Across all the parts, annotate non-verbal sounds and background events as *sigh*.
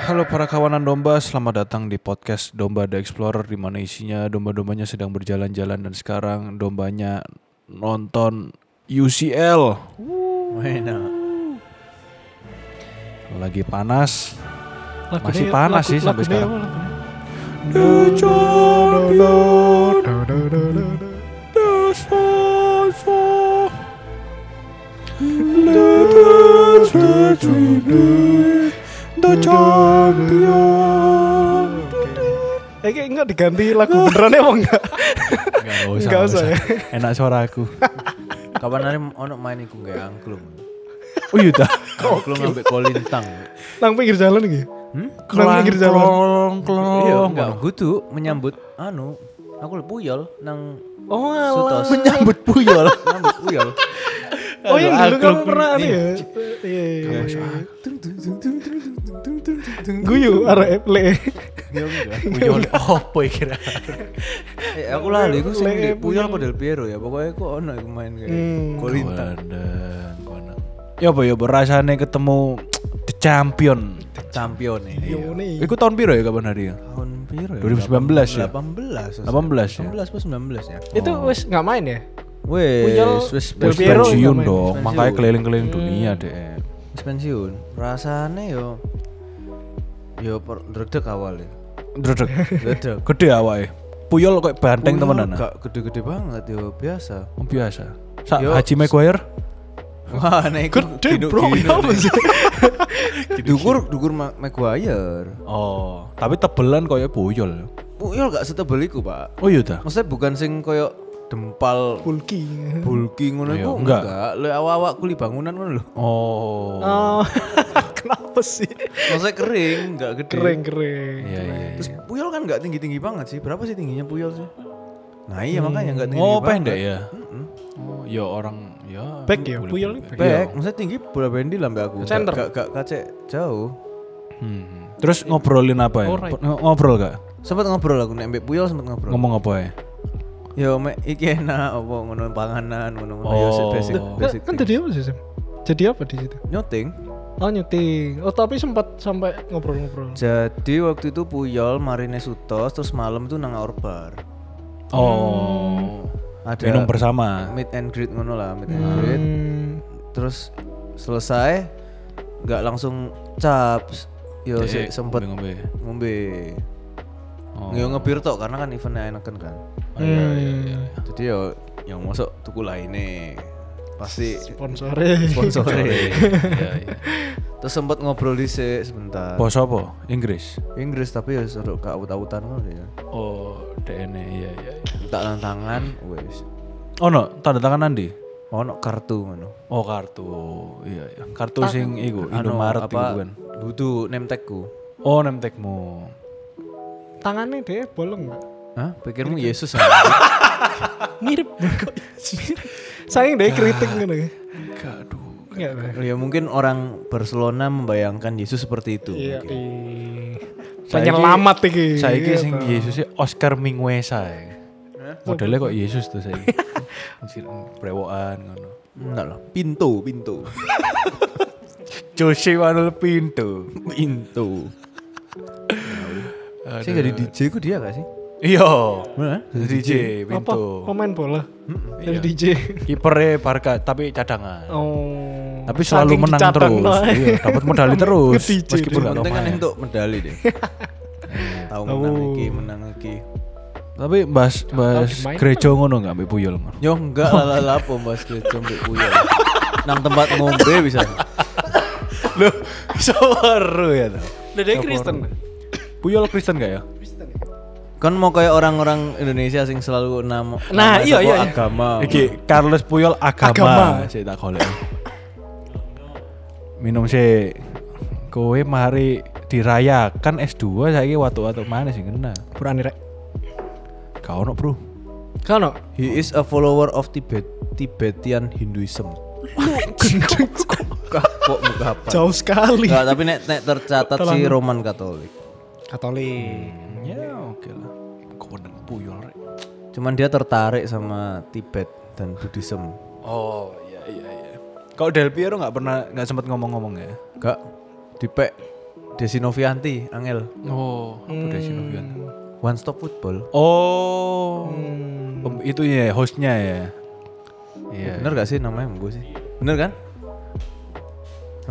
Halo para kawanan domba, selamat datang di podcast Domba The Explorer di mana isinya domba-dombanya sedang berjalan-jalan dan sekarang dombanya nonton UCL. Wena. ah. Lagi panas. Masih panas sih sampai sekarang. The champion, the successful, the champion, the champion. Eh kayak enggak diganti lagu beneran ya mau enggak? Enggak enggak usah. Nggak nggak usah usah. Enak suara aku. Kapan hari ono main iku kayak angklung. Oh iya dah. Angklung ambek kolintang. *laughs* Nang pinggir jalan iki. Nang Kelang, pinggir jalan. kelong, kelong. Iya, enggak gutu menyambut anu aku lu puyol nang Oh alah. Sutos. Menyambut *laughs* puyol. nambut puyol. Oh yang dulu Angklung. kamu pernah anu ya. Iya iya. iya. Guyu arek le. Puyol opo *laughs* kira. Eh, aku lali iku sing Lek, di puyol. puyol padahal piero ya. Pokoknya aku ono iku main kayak Hmm. kolintang. Ya apa ya berasane ketemu the champion. Champion Yo ini. ne. Iku tahun piro ya kapan hari ya? iya. Tahun piro ya? 2019 ya? 18 18. ya? 18 pas 19 ya. Itu wes enggak main ya? Puyol, Wes, wes Del Terus wes Piero pensiun namanya, dong, pensiun. makanya keliling-keliling dunia deh. Wis pensiun. Rasane yo yo per- dredeg awal ya. *laughs* Dredeg. *laughs* Dredeg. Gede awake. Puyol kayak banteng temenan. ah. Gak gede-gede banget yo, biasa. Oh, Biasa. Sa Yo, Haji Maguire. Wah, nek Gede bro ya apa sih? *laughs* Dukur dukur Ma- Maguire. Oh, tapi tebelan kayak puyol. Puyol gak setebel iku, Pak. Oh iya dah. Maksudnya bukan sing koyo dempal Bulky. bulky ngono iku enggak. enggak. Le awak-awak kuli bangunan ngono lho. Oh. Oh. *laughs* Kenapa sih? Maksudnya kering, enggak gede. Keren keren. Iya iya. Terus puyol kan enggak tinggi-tinggi banget sih. Berapa sih tingginya puyol sih? Nah, iya makanya enggak tinggi. Oh, pendek ya. Oh, ya orang ya. Back ya, puyol ini back. Iya. Back, maksudnya tinggi bola bendi lah mbak aku. Center. Gak, gak, kacek jauh. Hmm. Terus ngobrolin apa ya? Alright. Ng- Ngobrol gak? Sempat ngobrol aku nek mbak Puyol sempat ngobrol. Ngomong apa ya? Yo mek iki enak apa ngono panganan ngono ngono Oh. yo basic Kan basic. kan thing. jadi apa sih Sam? Jadi apa di situ? Nyoting. Oh nyuting. Oh tapi sempat sampai ngobrol-ngobrol. Jadi waktu itu Puyol Marine Sutos terus malam itu nang Our Bar. Oh. Ada Minum bersama. meet and greet ngono lah, meet and greet. Hmm. Terus selesai nggak langsung caps. Iya, Yo sih sempet ngombe. ngombe. Oh. Yo ngebir tok karena kan eventnya enakan kan. Iya iya Hmm. iya. Jadi yo yang masuk tuku lainnya pasti *laughs* Sponsornya. sponsornya. Iya, *laughs* iya. Terus sempet ngobrol di sebentar. Bahasa apa? Inggris. Inggris tapi ya seru keawut-awutan ngono ya. Oh, DNA iya iya. iya. Tak tantangan wis. Oh no, tanda tangan Andi. Ono kartu ngono. Oh kartu, iya, iya. kartu sing iku Indomaret iku apa? kan. Butuh name tagku. Oh nemtekmu. Tangannya deh bolong nggak? Hah? Pikirmu Yesus ya? Ah, *laughs* Mirip kok. Sayang deh kritik gitu. Aduh. Enggak Pak. ya mungkin orang Barcelona membayangkan Yesus seperti itu. Iya. mungkin. ih. Penyelamat iki. Iya, Saiki sing Pak. Yesus Oscar Minguesa. ya. Modelnya kok Yesus tuh *laughs* saya. Brewokan ngono. Enggak lah. Pintu, *laughs* pintu. Jose Manuel Pinto. pintu. Saya jadi DJ ku dia gak sih? Iya. Bener? DJ apa? Pinto. Pemain bola. Hmm, Dari iya. DJ. Kipernya Barca tapi cadangan. Oh. Tapi selalu Saking menang dicadang, terus. Pak. Iya, dapat *laughs* medali terus. Ke DJ Meskipun dia. nggak Penting kan main. untuk medali *laughs* deh. Eh, Tahu menang iki, menang iki. Tapi bahas bahas dimain gereja ngono nggak Mbak Puyol ngono. *laughs* Yo enggak lah lah lah apa mas Jombe puyol. Nang tempat ngombe bisa. *laughs* Loh, seru ya tuh. Dari Kristen. Puyol Kristen gak ya? Kan mau kayak orang-orang Indonesia sing selalu nama Nah, nama iya, sapa iya, iya. agama. Iki Carlos Puyol agama. Saya tak golek. Minum sih. Kowe mari dirayakan S2 saiki watu-watu mana sih kena? Berani rek. Gak ono, Bro. Kau no? He is a follower of Tibet Tibetan Hinduism. Kok kok muka apa? *laughs* Jauh sekali. Enggak, tapi nek nek tercatat si Roman Katolik. Katolik. Ya, oke lah. Kowe nang Puyol rek. Cuman dia tertarik sama Tibet dan Buddhism. Oh, iya iya iya. Kau Del Piero nggak pernah nggak sempat ngomong-ngomong ya? Enggak dipek Desi Novianti, Angel. Oh, apa Desi Novianti? One Stop Football. Oh, pem- itunya ya, hostnya ya. Iya. Bener gak sih namanya gue sih? Bener kan?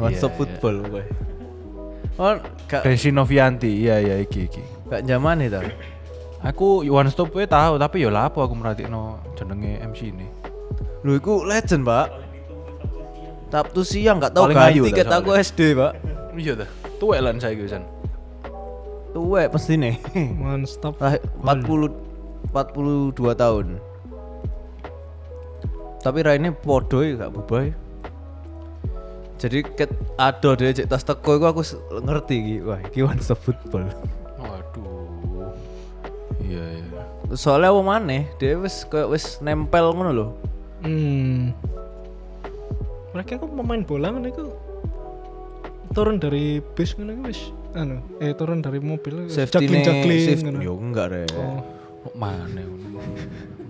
One Iya, Stop iya. Football gue. Oh, gak, Desi Novianti, iya iya iki iki. gak zaman itu. Aku One Stop we tahu tapi ya lapo aku merhatiin jenenge MC ini. Lu iku legend, Pak. Sabtu siang gak tahu Paling ganti ayu dah tiket soalnya. aku SD, Pak. Iya dah. Tuwek lan saiki wisan. Tuwek pasti nih. *laughs* Hmm. One stop. Lah, 40 42 tahun. Tapi raine podo ya gak bubah. ya. Jadi ket ado deh cek tas teko iku aku s- ngerti iki. Wah, iki one stop football. Waduh. Iya iya. Soalnya wong maneh dia wis kayak wis nempel ngono lho. Hmm. Mereka kok pemain bola ngono iku turun dari bis ngono iku wis anu eh turun dari mobil Safety jagling- jagling ngono. Oh. yo enggak re. Kok mana ngono?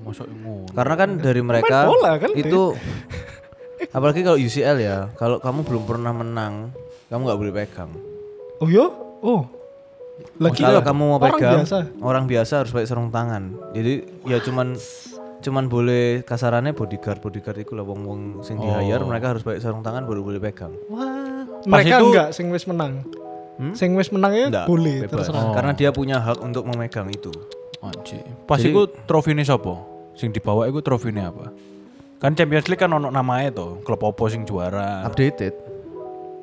Mosok ngono. Karena kan dari mereka bola kan, itu apalagi kalau UCL ya, kalau kamu belum pernah menang, kamu nggak boleh pegang. Oh yo. Oh. Lagi Oh, Kalau kamu mau gitu orang pegang, biasa. orang biasa harus pakai sarung tangan. Jadi ya cuman cuman boleh kasarannya bodyguard bodyguard itu lah wong wong sing di hire mereka harus pakai sarung tangan baru boleh pegang. Wah, mereka itu- enggak sing wis menang. Sing wis menang ya Nggak, boleh Hmm? bebas. Oh. terserah. Karena dia punya hak untuk memegang itu. Anjir. Pas iku trofine sapa? Sing dibawa iku trofine apa? Kan Champions League kan ono namae to, klub apa sing juara. Updated.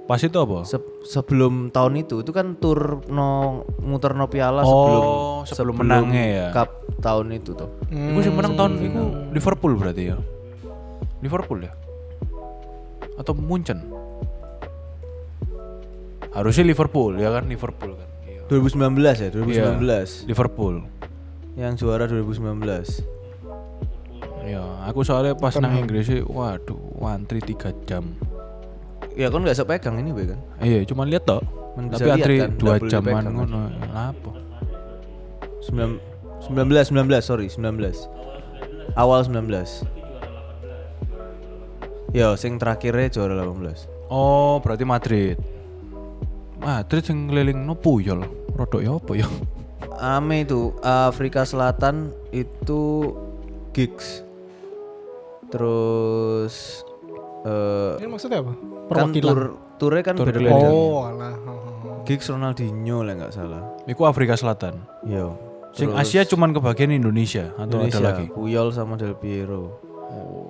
Pas itu apa? Se- sebelum tahun itu itu kan tur no muter no piala Oh, sebelum sebelum menangnya ya. cup tahun itu tuh. Hmm. Iku Hmm, sing menang tahun iku Liverpool berarti ya. Liverpool ya. Atau Munchen. Harusnya Liverpool ya kan Liverpool kan. Iya. 2019 ya, 2019. Liverpool. Yang juara 2019. Ya, aku soalnya pas nang Inggris sih, waduh, antri 3 jam. Ya kan nggak bisa pegang ini gue kan. Iya, cuman lihat toh. Men Tapi bisa lihat antri kan, nggak 2 boleh jaman dipegang. ngono. ya, Lapo? 19 19 19 sorry 19 awal 19 yo sing terakhirnya juara 18 Oh, berarti Madrid. Madrid sing ngeliling no puyol. Rodok ya apa ya? Ame itu Afrika Selatan itu gigs terus eh Ini maksudnya apa? kan Perwakilan. tur turnya kan beda oh, alah. Oh, oh. gigs Ronaldinho lah nggak salah Iku Afrika Selatan. yo Sing Asia cuman kebagian Indonesia atau Indonesia ada lagi? Puyol sama Del Piero Uh,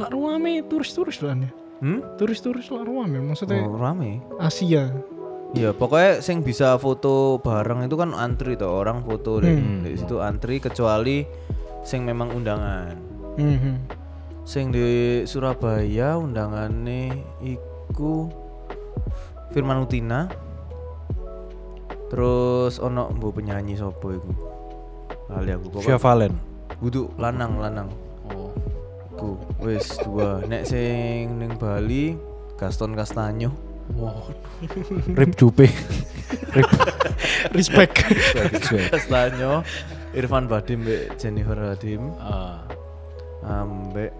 lak ruame turis-turis lah nih. hmm Turis-turis lak ruame maksudnya oh, rame Asia. Ya pokoknya sing bisa foto bareng itu kan antri tuh orang foto dari dari situ antri kecuali sing memang undangan. Mhm. Sing di Surabaya undangannya iku Firman Utina. Terus ono mbok penyanyi sopo iku. Lali aku Via pokoknya Valen. Wudhu lanang lanang. Oh. Ku wis dua nek sing ning Bali Gaston Castanyo. Wow. *laughs* Rip *laughs* Jupe. Rip Respect. *laughs* Jupe. Castanyo. Irfan Badim mbek Jennifer Badim. Ah, ambek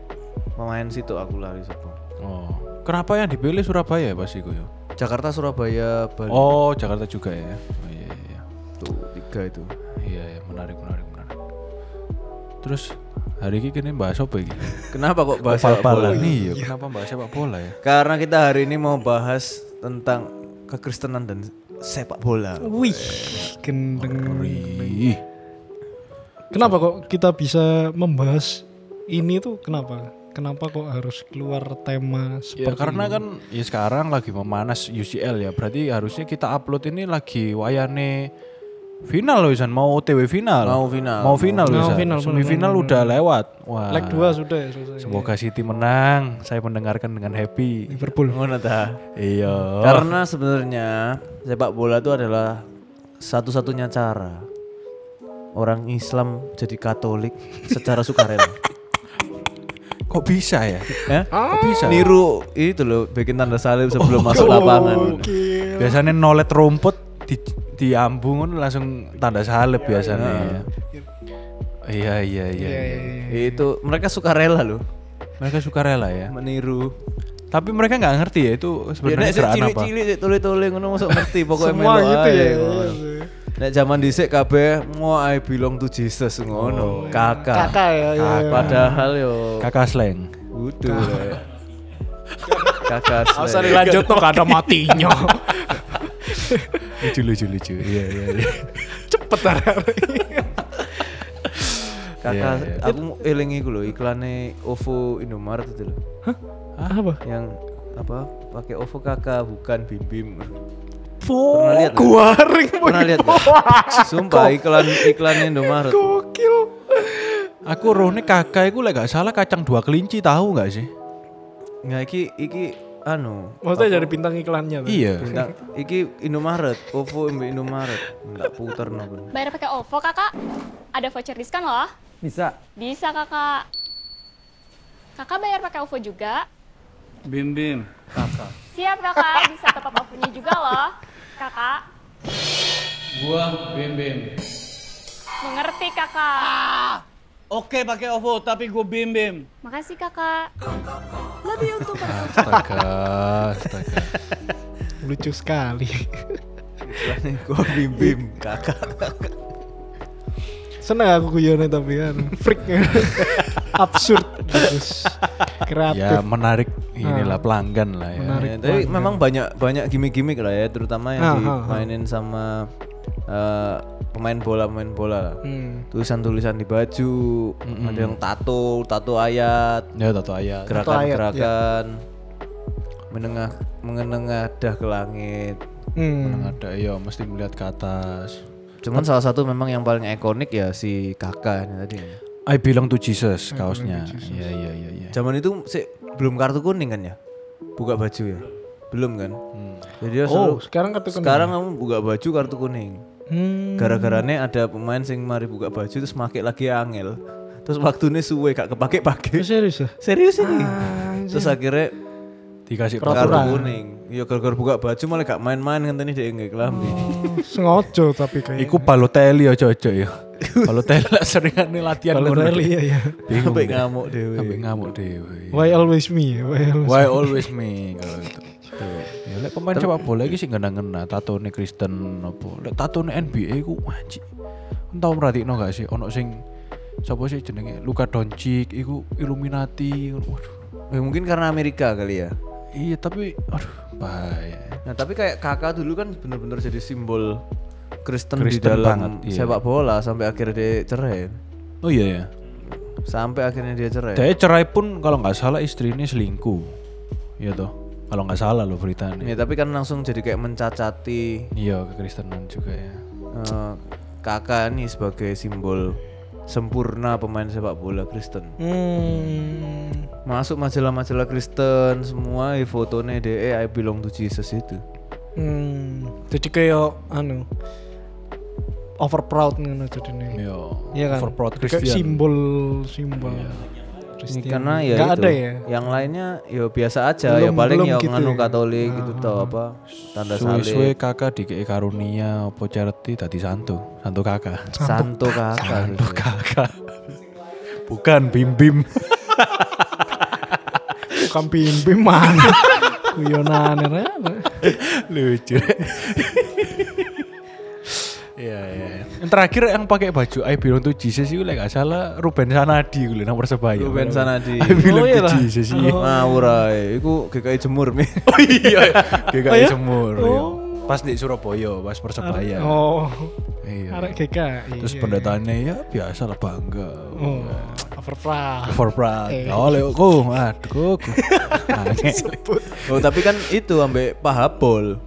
pemain situ aku lari sopo oh. Kenapa yang dipilih Surabaya ya pasti ya? Jakarta Surabaya Bali Oh, Jakarta juga ya. Oh, iya iya, iya. tuh tiga itu Iya iya, menarik menarik menarik. Terus hari ini kini bahas apa ini? kenapa kok bahas sepak bola Iya, kenapa bahas sepak bola ya? karena kita hari ini mau bahas tentang kekristenan dan sepak bola Wih, gendeng. Ih. Kenapa kok kita bisa membahas ini tuh kenapa? Kenapa kok harus keluar Ya tema seperti karena kan ya sekarang lagi memanas UCL ya. Berarti harusnya kita upload ini lagi wayane final loh Isan, mau OTW final. Mau final. Mau final loh Mau Isan. final, benar, Semifinal udah lewat. Wah. leg 2 sudah ya selesai. Semoga City menang. Saya mendengarkan dengan happy. Liverpool. Ngono ta? Iya. Oh. karena sebenarnya sepak bola itu adalah satu-satunya cara orang Islam jadi Katolik secara sukarela *laughs* Kok bisa ya? ya Kok bisa? niru itu loh bikin tanda salib Oh, *laughs* sebelum masuk lapangan Biasanya nolet rumput di diambung kan langsung tanda salib biasanya. ya. Iya iya iya. Iya, iya. iya, iya. itu mereka suka rela loh Mereka suka rela ya. meniru Tapi mereka nggak ngerti ya itu Ya nek sebenarnya sik keraan apa. cilik-cilik sik tole-tole ngono mosok ngerti pokoke Semua melu gitu ya. ae. Nek zaman dhisik kabeh mo I belong to Oh, Jesus ngono. Kakak. Kakak ya, Ah. iya, Nah, iya. Padahal yo Kakak slang. kudu le. Kakak. Nggak usah slang. dilanjut tuh gak ada matinya. *laughs* lucu lucu lucu. Iya iya iya. Cepet arek-arek. Kakak Iya, iya. aku mau eling iku lho iklane OVO Indomaret itu lho. Ah, Apa? Yang apa? Pakai OVO kakak bukan Bim Bim. Pernah lihat nggak? Kuaring Pernah lihat nggak? Sumpah iklan iklan Indomaret. Gokil. Aku rohnya kakak itu lek gak salah kacang dua kelinci tahu nggak sih? Nggak iki iki anu Maksudnya dari bintang iklannya tuh. Iya. Bintang, iki Indomaret, OVO mbek Indomaret. Enggak puter no. Bro. Bayar pakai OVO, Kakak. Ada voucher diskon loh. Bisa. Bisa, Kakak. Kakak bayar pakai OVO juga. Bim Bim. Kakak. Siap, Kakak. Bisa top up OVO-nya juga loh. Kakak. Gua Bim Bim. Mengerti, Kakak. Oke pakai OVO tapi gua Bim Bim. Makasih, Kakak. Astaga, astaga. Lucu sekali. Iklannya gua bim bim kakak. Seneng aku guyonnya tapi kan freak. Absurd terus. Ya Kreatif. menarik inilah pelanggan lah ya. Menarik. Ya, tapi memang banyak banyak gimmick-gimmick lah ya, Ah, ah, terutama yang ah. dimainin sama eh, pemain bola pemain bola lah. Hmm. Tulisan-tulisan di baju, ada yang tato, tato ayat, Ya tato ayat. gerakan-gerakan menengah menengadah ke langit. Hmm. Nggak ada iya mesti melihat ke atas. Cuman salah satu memang yang paling ikonik ya si kakak ini tadi. I belong to Jesus kaosnya. Iya iya iya iya. Zaman itu sih belum kartu kuning kan ya? Buka baju ya? Belum kan? Jadi dia Oh, selalu, sekarang ketukan. sekarang kamu buka baju kartu kuning. Hmm. Gara-garanya ada pemain sing mari buka baju terus make lagi angel. Terus waktunya suwe gak kepake-pake. Serius ya? Serius ini. Terus akhirnya Dikasih kartu peraturan. kuning. Iya gara-gara buka baju malah gak main-main ngenteni dhek nggak kelambi. Sengojo tapi kayak. Iku Balotelli aja aja *laughs* ya. Balotelli lah seringan nih latihan ngono. Balotelli ya ya. Bingung. Sampai deh. ngamuk dhewe. iya. Sampai ngamuk dewe. Why always me? Why always Why always me kalau gitu. Tuh. Ya lek pemain sepak bola iki sing ngena-ngena tatone Kristen opo. Lek tatone NBA ku anjir. Entah merhatiin gak sih ono sing sapa sih jenenge Luka Doncic iku Illuminati. Waduh. Ya, mungkin karena Amerika kali ya. Iya tapi aduh bahaya. Nah tapi kayak kakak dulu kan bener-bener jadi simbol Kristen, di Kristen dalam banget, iya. sepak bola sampai akhirnya dia cerai. Oh iya ya. Sampai akhirnya dia cerai. Dia cerai pun kalau nggak salah istrinya selingkuh. Iya toh. Kalau nggak salah loh beritanya. Ya, tapi kan langsung jadi kayak mencacati Iya kekristenan juga ya. eh, kakak nih sebagai simbol sempurna pemain sepak bola Kristen. Hmm. Masuk majalah-majalah Kristen semua di fotonya DE I belong to Jesus itu. Hmm. Jadi kayak anu over proud ngono jadinya. Iya. Iya kan? For proud Kayak Christian. simbol simbol. Ini Kristen. karena ya Nggak itu. ada ya. Yang lainnya ya biasa aja ya Belum- paling belum ya gitu nganu ya. Katolik gitu tau apa tanda salib. Suwe-suwe kakak di karunia apa charity tadi santo, santo kakak. Santo *laughs* kakak. Santo kakak. Bukan bim bim. Bukan pimpin *laughs* mana. Guyonan ya. Lucu. *laughs* Iya iya. Yang terakhir yang pakai baju I belong to Jesus itu lek nggak salah Ruben Sanadi gue nomor sebaya. Ruben Sanadi. I belong Oh, iya to lah. Jesus iya. Ngawur ae, iku GKI jemur mi. Oh iya, *laughs* GKI iya? Semur. iya. Oh. Pas di Surabaya, pas Persebaya. Oh. Iya. Arek GKI. Terus pendataannya ya biasa lah bangga. Oh, over proud. For pride. Eh. Oh, Leo ku, aduh *laughs* Nah, ku. Nangis. Oh, tapi kan itu ambek pahabol.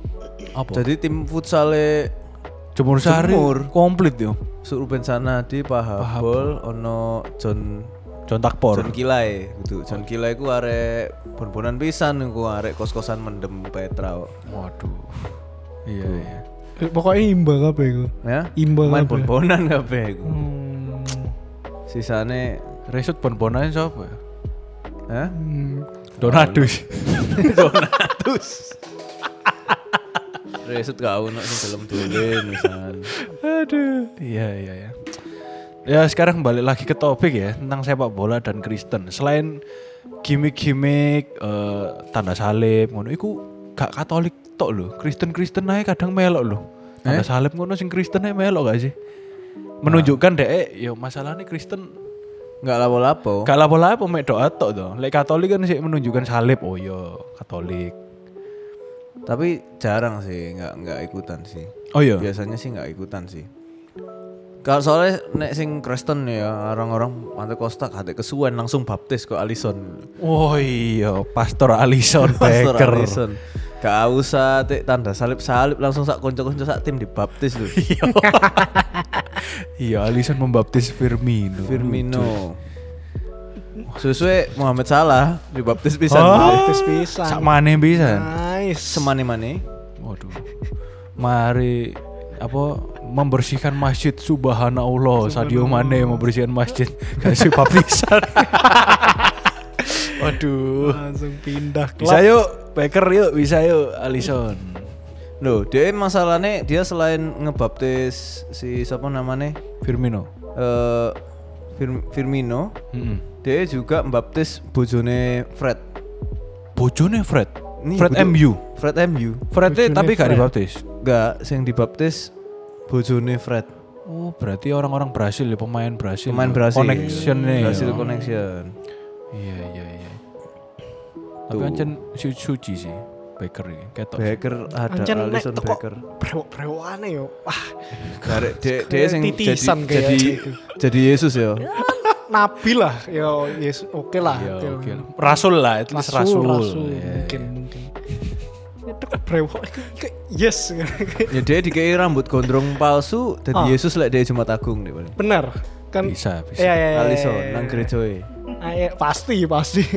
Apa? Jadi tim futsale Jemur sari Jemur. komplit yo. Suruben Sanadi pahabol ono John Contak por. John Kilai gitu. John Kilai ku arek bon-bonan pisan ku arek kos-kosan mendem Petra. kok. Gitu. Waduh. Iya, iya. Eh, Pokoknya imbang apa itu? Ya. Imbang apa? Main bon-bonan kabeh iku. Hmm. Sisane Resut bon-bonan siapa ya? Hah? Hmm. Donadus. Donatus. Resut gak ono sing gelem dolen misal. Aduh. Iya iya ya. Ya sekarang balik lagi ke topik ya tentang sepak bola dan Kristen. Selain gimmick-gimmick eh, tanda salib ngono iku gak Katolik tok lho. Kristen-Kristen ae kadang melok lho. Tanda salib ngono sing Kristen ae melok gak sih? Menunjukkan dek ya masalahnya Kristen Enggak lapo-lapo. gak lapo-lapo mek doa tok to. Lek Katolik kan sih menunjukkan salib. Oh iya, Katolik. Tapi jarang sih, nggak nggak ikutan sih. Oh iya. Biasanya sih nggak ikutan sih. Kalau soalnya nek sing Kristen ya orang-orang Pantekosta kate kesuwen langsung baptis kok Alison. Oh iya, *laughs* Pastor Alison Pastor Becker. Alison. Gak usah tik tanda salib-salib langsung sak konco-konco sak tim dibaptis lho. Iya, Alison membaptis Firmino. Firmino. Suwe-suwe Muhammad Salah dibaptis pisan. Baptis pisan. Sak maneh pisan. Nice. Semane-mane. Waduh. Mari apa membersihkan masjid subhanallah Sadio Mane membersihkan masjid kasih baptisan. *laughs* Waduh. Langsung pindah klub. Bisa yuk, Becker yuk, bisa yuk Alison. Loh, dia masalahnya dia selain ngebaptis si siapa namanya? Firmino. Eh Fir- Firmino, Mm-mm. dia juga membaptis bojone Fred. Bojone Fred. Ini Fred butuh- MU. Fred MU. Fred tapi gak dibaptis. Enggak, yang dibaptis bojone Fred. Oh, berarti orang-orang Brasil ya, pemain Brasil. Pemain Hmm, Brasil. Connectionnya. Brasil ya. connection. Iya, iya, iya. Tapi ancen su suci sih Baker ini, ketok. Baker ada Ancen nek Alisson teko Baker. brewok-brewokan yo. Wah, *laughs* Garek dia dia yang jadi titisan kayak jadi gitu. jadi Yesus ya. nabi lah. Yo, yes, oke lah. Ya, Yo. oke lah. Rasul lah, itu rasul. Rasul, rasul, Iya, mungkin, iya. mungkin. Ya, tek brewok *laughs* kayak- kayak yes. Ya dia dikei rambut gondrong palsu jadi Ah. Yesus lah dia Jumat Agung deh paling. Benar. Kan Bisa, bisa. Iya, iya, iya, Alisson iya, nang e. iya. gerejoe. Ah, iya, pasti, pasti.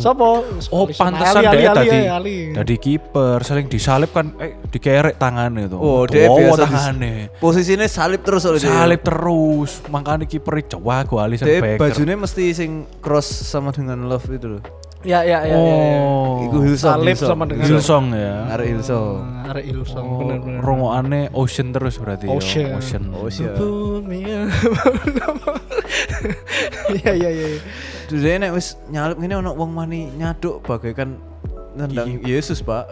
Sopo? Oh, Alisson. pantesan Ali, deh Ali, tadi. Ali, Ali. Tadi kiper saling disalib kan eh dikerek tangannya tuh. Oh, dia Tuwowo biasa tangannya. di- posisinya salib terus oleh dia. Salib terus, makanya kiper cewek gue Alison Dia Baker. Iya, bajunya mesti sing cross sama dengan love itu loh. Ya, ya, ya, ya, ya. Oh, Iku Hillsong. Salib sama dengan- Hillsong ya. Arek Hillsong. Ah, Arek Ilson, benar, benar. Rongoane Oh, Ocean terus berarti ya. Ocean. Ocean. Ocean. Bumi *laughs* ya. Iya iya iya. Terus dia nek wis nyalip ngene ono wong mani nyaduk bagaikan nendang Iya. Yesus, *laughs* Pak.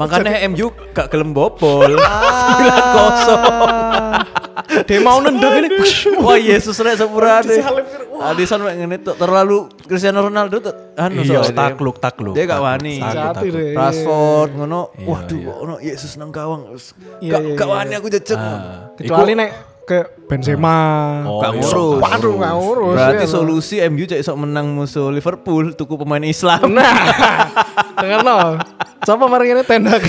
Makanya MU gak gelem bobol. Ah. *laughs* 9-0. Dia mau nendang ini. Wah Yesus rek sepurane. Disalip, wah. Alisson mek ngene tok terlalu Cristiano Ronaldo tok anu Iya, soalnya dia. takluk, takluk. Dia gak takluk, wani. takluk, Jati takluk. deh. Rashford ngono. Iya, Waduh iya. kok ono Yesus nang gawang. Terus Iya, Gak iya, gak iya, wani aku jejeg. Ah, Kecuali iku- nek ke Benzema. Nah. Oh, Gak iya. ngurus. Waduh, gak ngurus. Berarti ya. solusi MU cek sok menang musuh Liverpool tuku pemain Islam. Nah, dengar no. Coba mari ini tendak.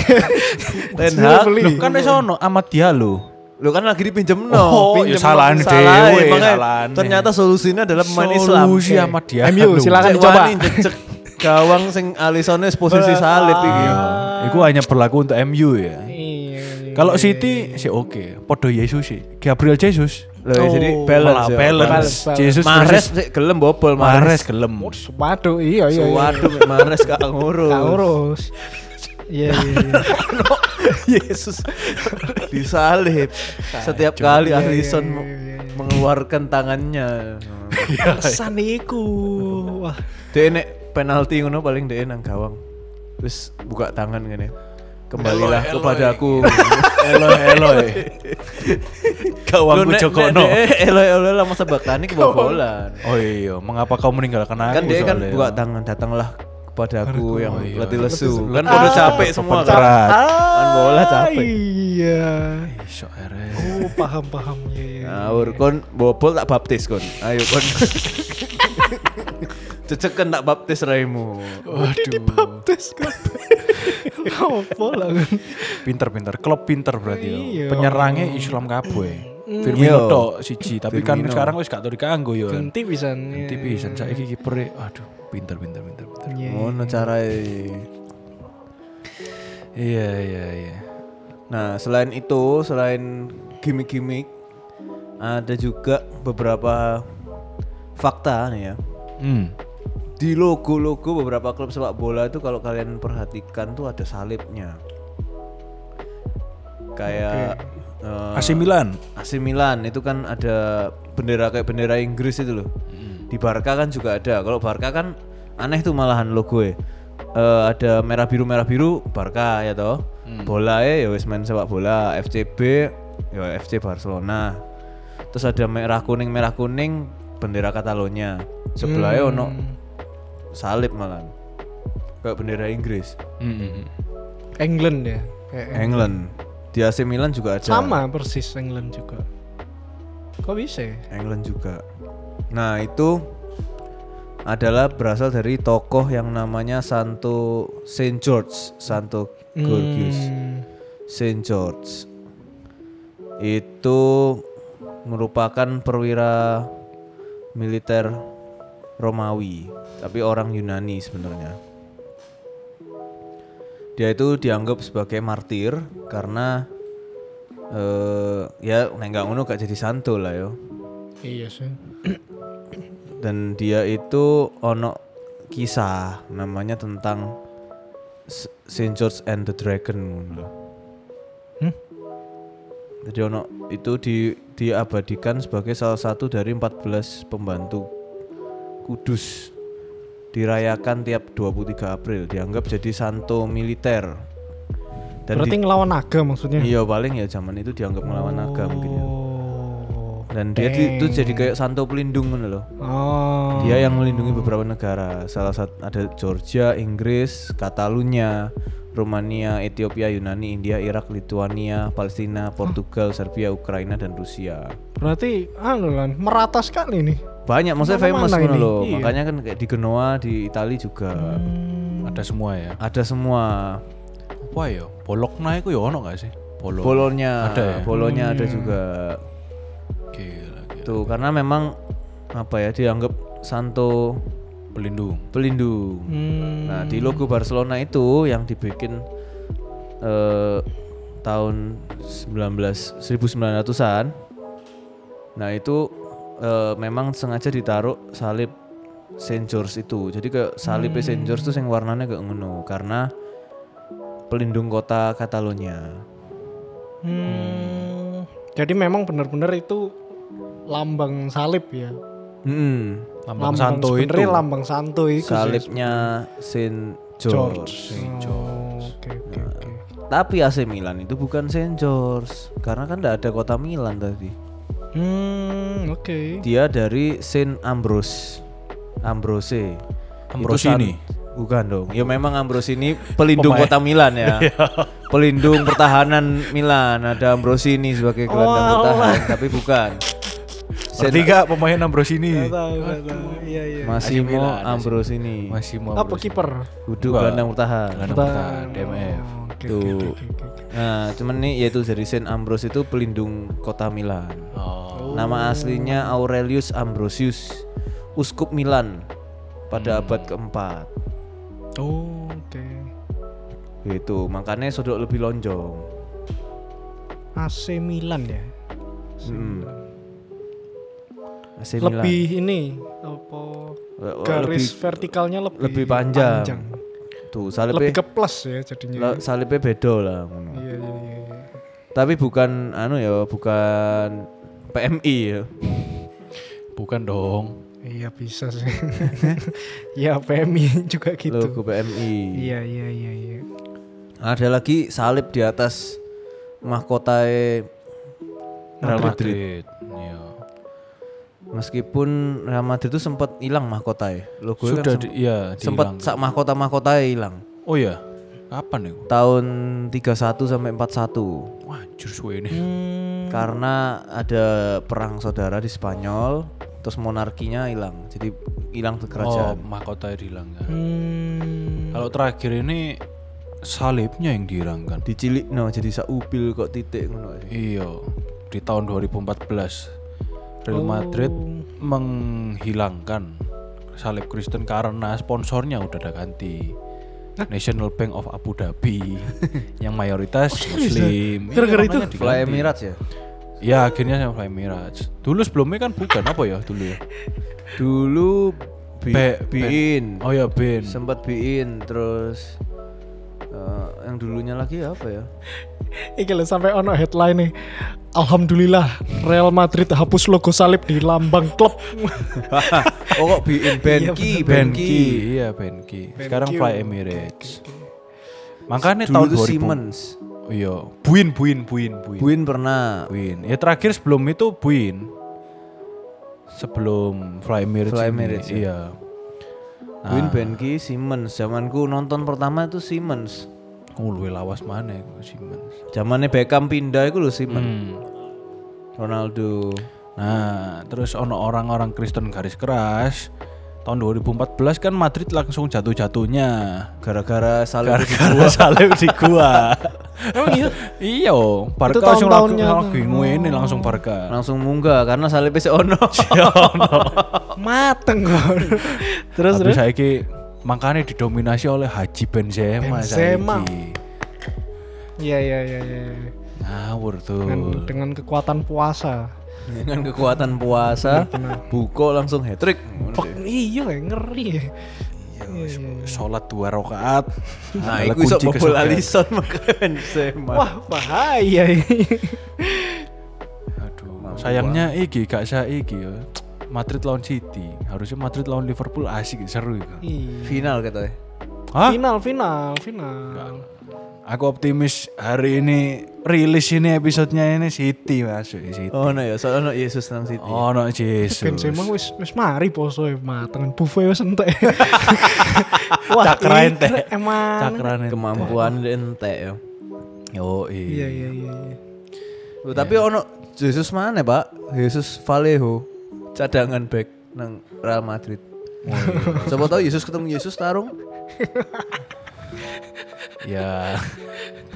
Ten Sudah Hag. beli. Loh, kan di sono Ahmad Diallo. Lu kan lagi dipinjem no. Oh, Pinjem ya salahan no. Salahan, dewe, makanya salahan. Ternyata solusinya adalah pemain Islam. Solusi Oke. Ahmad Diallo. MU, silakan. *laughs* Cek dicoba. wani jejeg gawang sing alisone posisi salib iki. Iya. Iku hanya berlaku untuk MU ya. Iya, iya. Kalau City sih oke, podo Yesus sih. Gabriel Jesus. Loh, ya, jadi Oh, Malah balance. ya, balance. balance. Jesus Mares versus sik gelem bobol Oh, Mares Mares. gelem. Waduh, iya iya. iya. Waduh Mares gak ngurus. Gak urus. Iya iya iya. *laughs* Yesus disalib. Setiap kali Alisson iya, iya, iya. mengeluarkan tangannya. Pesan iku. Wah. Dia nek penalti ngono paling dia nang gawang. Terus buka tangan ngene. Kembalilah Eloy, kepada Eloy. aku. Eloy Eloy. *laughs* Gawangku Lu eh. nek- Jokono. nek eh. dia Eloy eloy lama *laughs* sebakani kebobolan. Oh iya, mengapa kau meninggalkan aku? Kan dia kan soalnya. buka tangan datanglah kepada aku yang iya. Ah, letih lesu. Kan udah capek semua kan. berat. Main bola capek. Iya. Iso ere. Oh, paham paham. Iya iya. Ngawur kon bobol tak baptis kon. Ayo kon. *laughs* Ceceken tak baptis raimu. Waduh, Tes kabeh. Apa lah kan. pinter-pinter, klub pinter berarti ya. Iya. Penyerangnya Islam kabeh. Firmino Iya. tok siji, tapi kan Firmino. sekarang wis gak tau diganggu ya. kan. Ganti pisan. Ganti pisan saiki kipere. Aduh, pinter pinter pinter pinter. Ngono carae. Iya iya iya. Nah, selain itu, selain gimmick-gimmick ada juga beberapa fakta nih ya. Hmm. Di logo-logo beberapa klub sepak bola itu kalau kalian perhatikan tuh ada salibnya. Kayak eh, AC Milan. AC Milan itu kan ada bendera kayak bendera Inggris itu loh. Di Barca kan juga ada. Kalau Barca kan aneh tuh malahan logo ya. Eh, ada merah biru merah biru Barca ya toh. Bola ya ya wis main sepak bola, FCB ya FC Barcelona. Terus ada merah kuning merah kuning bendera Catalonia. Sebelahnya ono salib malahan. Kayak bendera Inggris, Hmm. England ya kayak England. Di AC Milan juga ada. sama persis England juga kok bisa ya? England juga. Nah itu adalah berasal dari tokoh yang namanya Santo Saint George, Santo Gorgius, Hmm, Saint George. Itu merupakan perwira militer Romawi, tapi orang Yunani sebenarnya. Dia itu dianggap sebagai martir karena eh ya nek nggak ngono gak jadi santo lah yo iya sih dan dia itu ono kisah namanya tentang S- Saint George and the Dragon ngono lho. Hmm? Jadi ono itu di diabadikan sebagai salah satu dari 14 pembantu kudus dirayakan tiap 23 April dianggap jadi santo militer. Dan berarti di- ngelawan naga maksudnya iya paling ya zaman itu dianggap melawan naga mungkin ya. Oh, Dan dia di- itu dang. jadi kayak santo pelindung ngono loh. oh Dia yang melindungi beberapa negara. Salah satu ada Georgia, Inggris, Catalunya, Rumania, Ethiopia, Yunani, India, Irak, Lituania, Palestina, Portugal, Serbia, Ukraina dan Rusia. berarti anu lan merata sekali nih Banyak maksudnya Mana-mana famous ngono ini, loh. iya. Hmm. Makanya kan kayak di Genoa, di Italia juga Ada semua ya. ada semua. Apa ya? Bologna itu ya ono gak sih? Bologna. Bolonya, Ada ya? Bolonya ada Hmm. juga. Gila, gila. Tuh, karena memang apa ya dianggap santo Pelindung. pelindung. Hmm, Nah di logo Barcelona itu yang dibikin eh, tahun 19 1900-an. Nah itu eh, memang sengaja ditaruh salib Saint George itu. Jadi ke salib Saint Hmm. George itu yang warnanya gak ngono karena pelindung kota Catalonia. hmm. jadi memang benar-benar itu lambang salib ya Mm-mm. Lambang Santo itu. sebenarnya lambang santo itu sih. Salibnya Saint George. Oh, oke oke oke Tapi AC Milan itu bukan Saint George karena kan tidak ada kota Milan tadi. hmm oke Dia dari Saint Ambrose. Ambrose. Ambrosini. Itu san- Bukan dong. Ya memang Ambrose ini pelindung kota Milan *laughs* ya. Iya. pelindung pertahanan Milan. Ada Ambrosini sebagai gelandang bertahan, tapi bukan. Saint Ketiga pemain Ambrosini. Tahu, tahu. iya iya Massimo Ambrosini. Masih mau apa kiper Kudu gelandang bertahan. Bertahan, DMF. Oke, Tuh. oke, oke, oke, oke. Nah, cuman nih yaitu dari Saint Ambrose itu pelindung kota Milan. Oh. Nama aslinya Aurelius Ambrosius, uskup Milan Hmm. pada abad keempat. Oh, oke Gitu, makanya sodok lebih lonjong. AC Milan ya Mm. AC Milan. lebih ini apa Le- le- garis lebih- vertikalnya lebih lebih panjang. Tuh iya, salibnya lebih ke plus ya jadinya la- salibnya beda lah. ngono. iya iya iya iya. Tapi bukan anu ya, bukan PMI ya. Bukan dong. Iya bisa sih. *laughs* ya PMI juga gitu. Logo PMI. Iya iya iya iya. Ada lagi salib di atas mahkota Real Madrid. Iya. Meskipun Real Madrid itu sempat hilang mahkotanya. Logo Sudah di, iya sempat dihilang. sak mahkota-mahkota hilang. Oh iya. Kapan itu? Tahun 31 sampai 41. Wah, anjir suwe ini. Hmm. Hmm. karena ada perang saudara di Spanyol terus monarkinya hilang jadi hilang ke Oh, kerajaan mahkota hilang ya. Hmm, Kalau terakhir ini salibnya yang dihilangkan. dicilik no jadi saupil kok titik ngono ae. Iya, di tahun 2014 Oh. Real Madrid menghilangkan salib Kristen karena sponsornya udah ada ganti. National Bank of Abu *laughs* Dhabi yang mayoritas muslim. Iya, Oh, Gara-gara itu? namanya diganti. Fly Emirates ya Ya akhirnya sama Fly Emirates. Dulu sebelumnya kan bukan apa ya dulu ya. dulu bi Be- biin Oh ya Ben. sempat biin terus eh, yang dulunya lagi apa ya *laughs* Iki lho sampai ono headline nih. Alhamdulillah Real Madrid hapus logo salib di lambang klub. Oh kok bikin Benki, Benki. Benki, iya Benki. Sekarang Fly Emirates. Makanya Dulu tahun itu 2000. Kan Siemens. Iya, Buin, Buin, Buin, Buin. Buin pernah. Buin. Ya terakhir sebelum itu Buin. Sebelum Fly Emirates. Fly ini, Emirates, ya. Iya. Buin Benki, Siemens. Zamanku nonton pertama itu Siemens. Oh, luwe lawas mana ya, Siemens. Zamannya Beckham pindah itu loh Siemens. Hmm. Ronaldo. Nah, terus ono orang-orang Kristen garis keras. Tahun 2014 kan Madrid langsung jatuh-jatuhnya. Gara-gara Salih Gara-gara salib di *laughs* gua. Emang iya? Iya, Barca Itu langsung lagi, tahun-tahunnya Oh. tuh. lagi ngene langsung Barca. *laughs* langsung munggah karena Salih PC *laughs* ono. mateng *laughs* kok. terus Terus terus saiki makanya didominasi oleh Haji Benzema, Benzema. saiki. iya iya iya iya iya. Ngawur tuh. dengan, Oh. dengan kekuatan puasa Dengan kekuatan puasa, buko langsung hat trick. Fuck, iya ya, ngeri ya. iya. Sholat dua rakaat. Nah, Adalah iku iso kunci bobol kesuksesan. Alisson makanya Benzema. wah bahaya ini Aduh, sayangnya iki gak saya iki ya. Madrid lawan City. Harusnya Madrid lawan Liverpool asik seru itu. Iya. final katanya. Hah? final final final Aku optimis hari ini rilis ini episodenya ini City masuk City. Oh no ya, soalnya no Yesus nang City. Oh, no Jesus. Benzema wis wis mari poso ya mateng buffet *laughs* wis entek. Wah, Cakra ini entek. keren, Emang. Cakran itu. Kemampuan dia entek ya. Yo, Iya iya iya. iya. Loh, tapi ono Yesus mana pak? Yesus Vallejo cadangan back nang Real Madrid. *laughs* Siapa tahu Yesus ketemu Yesus tarung? Ya.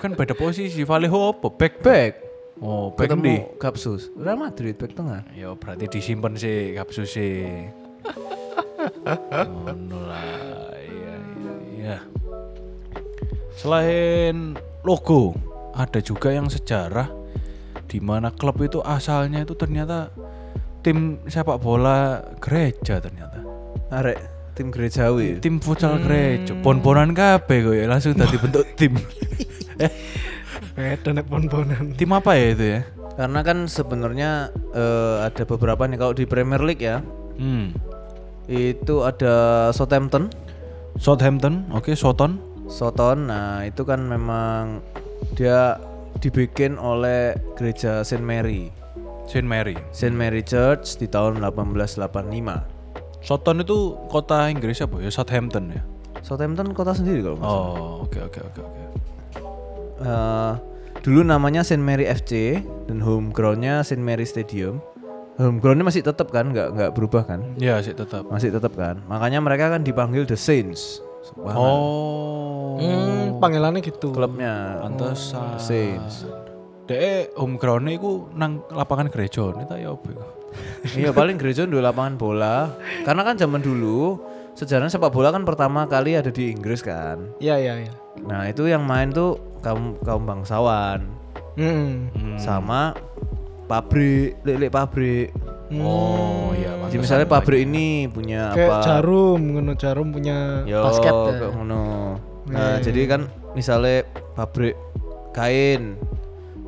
kan beda posisi Vallejo apa? Back back. Back. Oh, back di. Ketemu Kapsus. Real Madrid back tengah. Ya berarti disimpan sih kapsus sih. Ngono lah. Iya iya iya. Selain logo, ada juga yang sejarah di mana klub itu asalnya itu ternyata tim sepak bola gereja ternyata. Arek tim ya. gerejawi. tim futsal gereja bon-bonan kabeh kowe langsung tadi bentuk tim Beda nek pon-ponan. tim apa ya itu ya Karena kan sebenarnya eh, ada beberapa nih kalau di Premier League ya. hmm. Itu ada Southampton, Southampton oke Soton Soton. Nah, itu kan memang dia dibikin oleh gereja Saint Mary. Saint Mary Saint Mary Church di tahun 1885. Soton itu kota Inggris apa ya Southampton ya Southampton kota sendiri kalau nggak salah. oh oke oke oke oke Eh, dulu namanya Saint Mary FC dan home groundnya Saint Mary Stadium. Home groundnya masih tetap kan, nggak nggak berubah kan? ya sih tetap Masih tetap kan. Makanya mereka kan dipanggil The Saints. Subhanallah. oh Hmm, panggilannya gitu. klubnya pantesan Saints. Dek home ground-nya iku nang lapangan gereja ini tak ya apa iku? *laughs* iya paling gereja dulu lapangan bola karena kan zaman dulu sejarah sepak bola kan pertama kali ada di Inggris kan Iya iya iya. nah itu yang main tuh kaum kaum bangsawan Hmm. sama pabrik lele pabrik oh iya jadi misalnya pabrik ini punya Hmm. Kayak apa jarum, ngono jarum punya Iya. Yo, basket ya. Iya, kayak ngono. Nah, jadi kan misalnya pabrik kain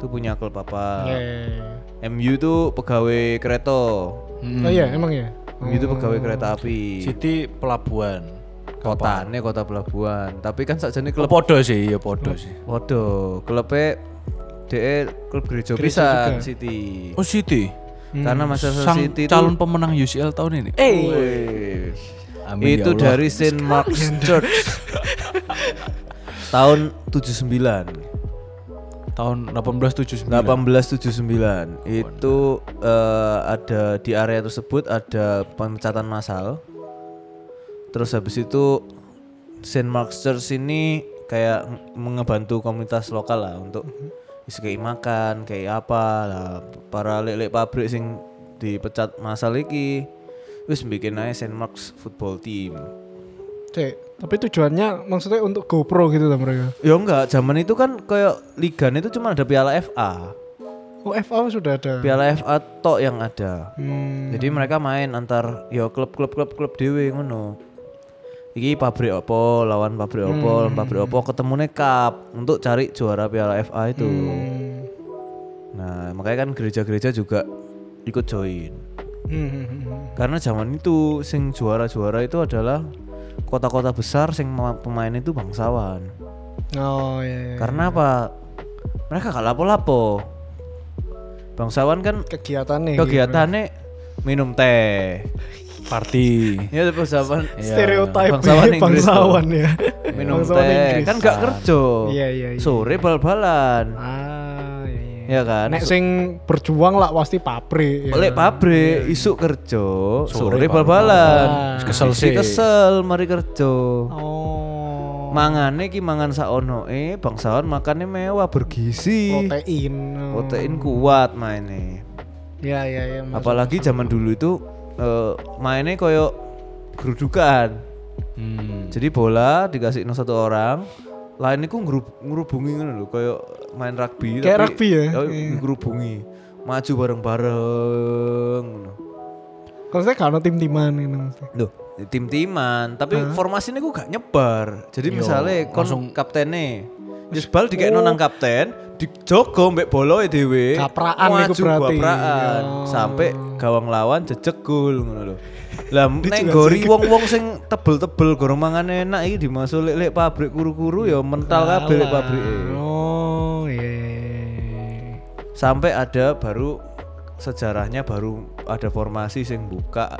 tuh punya klub apa Iya, iya, iya. MU tuh pegawai kereta Oh iya, emang ya. Itu pegawai Iya. kereta api. City pelabuhan Kota, ini kota pelabuhan. Tapi kan sakjane Oh, klub podo sih iya podo sih Waduh, klubnya DE klub gereja pisan City. oh City Hmm. Karena Manchester sang City calon pemenang UCL tahun ini. tuh, Wih. Amin ya itu Allah. dari Saint Mark's Church. tahun 79 tahun 1879. 1879 itu eh, ada di area tersebut ada pemecatan massal terus habis itu Saint Mark's Church ini kayak mengebantu komunitas lokal lah untuk Mhm. isi kayak makan kayak apa lah para lelek pabrik sing dipecat massal iki wis bikin aja Saint Mark's football team Cek, tapi tujuannya maksudnya untuk GoPro gitu lah mereka. ya enggak zaman itu kan kayak ligan itu cuma ada piala FA Oh, FA sudah Iya. ada. piala FA tok yang ada Hmm. Jadi mereka main antar yo klub-klub klub-klub dhewe ngono. Iki pabrik opo lawan pabrik opo, lawan pabrik opo ketemune cup untuk cari juara Piala FA itu. Nah, makanya kan gereja-gereja juga ikut join. Hmm, hmm, hmm, hmm. Karena zaman itu sing juara-juara itu adalah kota-kota besar sing ma- pemain itu bangsawan. Oh iya. iya. Kan- Karena apa? Mereka gak lapo-lapo. Bangsawan kan kegiatannya. gitu. kegiatannya minum teh. Party. Ya *laughs* bangsawan stereotype bangsawan Inggris bangsawan ya. minum Bangsawan teh Inggris. kan gak kerja. Iya, iya, iya. Sore bal-balan. Ah, iya, iya. Ya kan? Nek iya. sing berjuang lah pasti ya. pabrik. Oleh pabrik, isuk kerja, Sore sore, Ah. bal-balan. Wis kesel Isi sih. kesel, mari kerja. Oh. Mangane ki mangan saonoe, bangsawan makannya mewah, bergizi. protein. Oh. Protein kuat mainnya. Iya, iya, iya. masuk. Apalagi zaman dulu itu eh, mainnya koyo gerudukan. Hmm. Jadi bola dikasih satu orang, lain itu ngerub, ngerubungi ngono lho, koyo main rugby Kayak rugby ya? tapi Iya. ngerubungi. Maju bareng-bareng ngono. Kalau saya kalau tim-timan gitu maksudnya. Loh, tim-timan, tapi formasinya gue gak nyebar. Jadi misalnya kon langsung kaptennya Terus bal dikekno uh. nang kapten, dijogo mbek boloe dhewe. Kapraan iku maju berarti. kapraan. Oh. sampai gawang lawan jejeg gol ngono lho. *laughs* Lah nek Dijelasin. gori wong-wong sing tebel-tebel gorong mangan enak iki dimasuk lek pabrik kuru-kuru ya mental kabeh lek pabrike. Oh, iya, iya, iya. Sampai ada baru sejarahnya baru ada formasi sing buka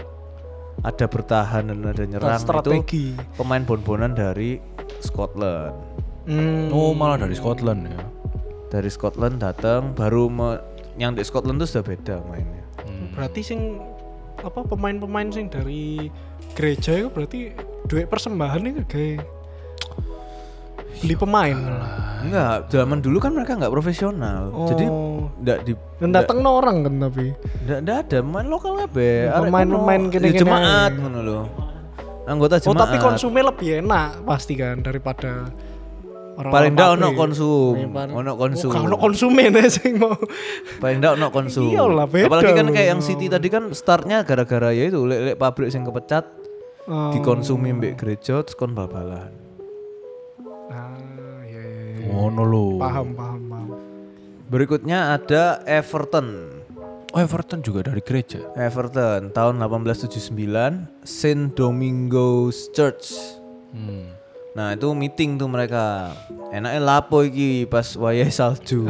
ada bertahan dan ada nyerang itu Strategi. pemain bonbonan dari Scotland. Hmm. Oh malah dari Scotland ya. Dari Scotland datang baru me- yang di Scotland tuh sudah beda mainnya. Berarti sing apa pemain-pemain sing dari gereja itu berarti duit persembahan itu kayak beli pemain. Nah. Enggak, zaman dulu kan mereka nggak profesional. Oh. Jadi enggak di Dan datang no orang kan tapi. enggak, ada main lokal kabeh. Arek Pemain-pemain kuno, gini-gini ya jemaat ngono lho. Anggota Oh jemaat. tapi konsumnya lebih enak pasti kan daripada orang paling enggak ono konsum, ono konsum. Kalau ono konsumen ya sing mau. Paling enggak ono konsum. Iya lah, beda Apalagi kan loh. kayak yang City tadi kan startnya gara-gara ya itu lek lek pabrik sing kepecat Oh. dikonsumi mbek gereja terus kon bal-balan. Ah, iya, iya, iya. Ngono lho. Paham, paham, paham. Berikutnya ada Everton. Oh Everton juga dari gereja. Everton tahun 1879 Saint Domingo's Church. Hmm. Nah itu meeting tuh mereka. Enaknya lapo iki pas wayah salju.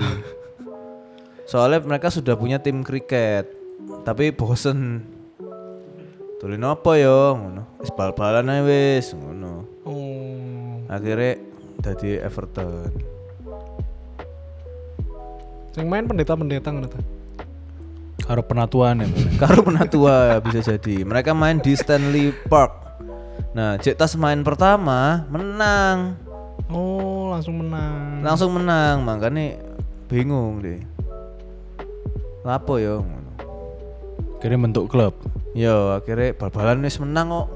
Soalnya mereka sudah punya tim kriket, tapi bosen. Tulen apa yo ngono. Wis bal-balan ae wis ngono. Oh. Akhirnya jadi Everton. *laughs* Sing main pendeta-pendeta ngono ta. Karo penatuan ya. Mbak. Karo penatua bisa jadi. Mereka main di Stanley Park. Nah, cek tas main pertama menang. Oh, langsung menang. langsung menang makanya bingung deh lapo yo ngono. Kira bentuk klub. yo akhirnya bal-balan wis menang kok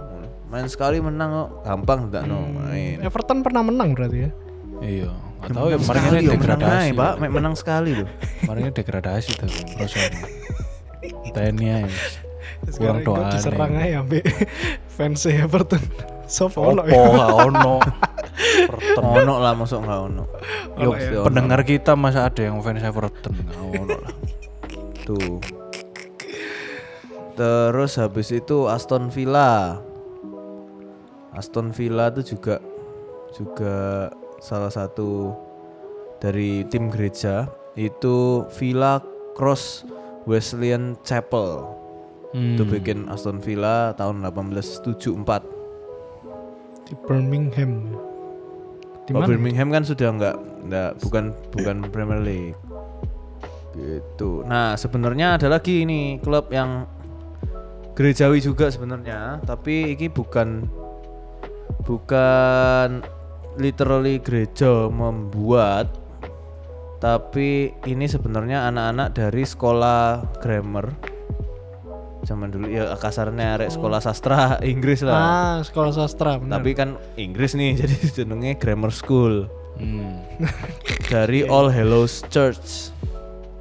main sekali menang kok gampang ndak Hmm. no main Everton pernah menang berarti ya. Iya. Gak tahu ya Menang kemarin sekali ini yo, menang ae, degradasi. pak Mek menang sekali loh Kemarin ini degradasi tuh. Rasanya. TNI aja. Kurang Sekarang doa ikut diserang aja ambek *laughs* fans Everton. Sof *laughs* ono Opo ya. gak ono. Everton. ono lah masuk nggak ono ya, yo pasti ono. ya. Pendengar kita masa ada yang fans Everton gak ono lah. tuh terus habis itu Aston Villa Aston Villa itu juga juga salah satu dari tim gereja itu Villa Cross Wesleyan Chapel itu bikin Aston Villa tahun 1874 di Birmingham. Di mana? Oh, Birmingham kan sudah nggak nggak bukan bukan Premier League gitu nah sebenarnya ada lagi ini klub yang gerejawi juga sebenarnya tapi ini bukan bukan literally gereja membuat tapi ini sebenarnya anak-anak dari sekolah grammar zaman dulu ya kasarnya arek sekolah sastra *laughs* Inggris lah Ah, sekolah sastra benar. tapi kan Inggris nih *laughs* jadi jenenge grammar school Hmm. dari All Hallows Church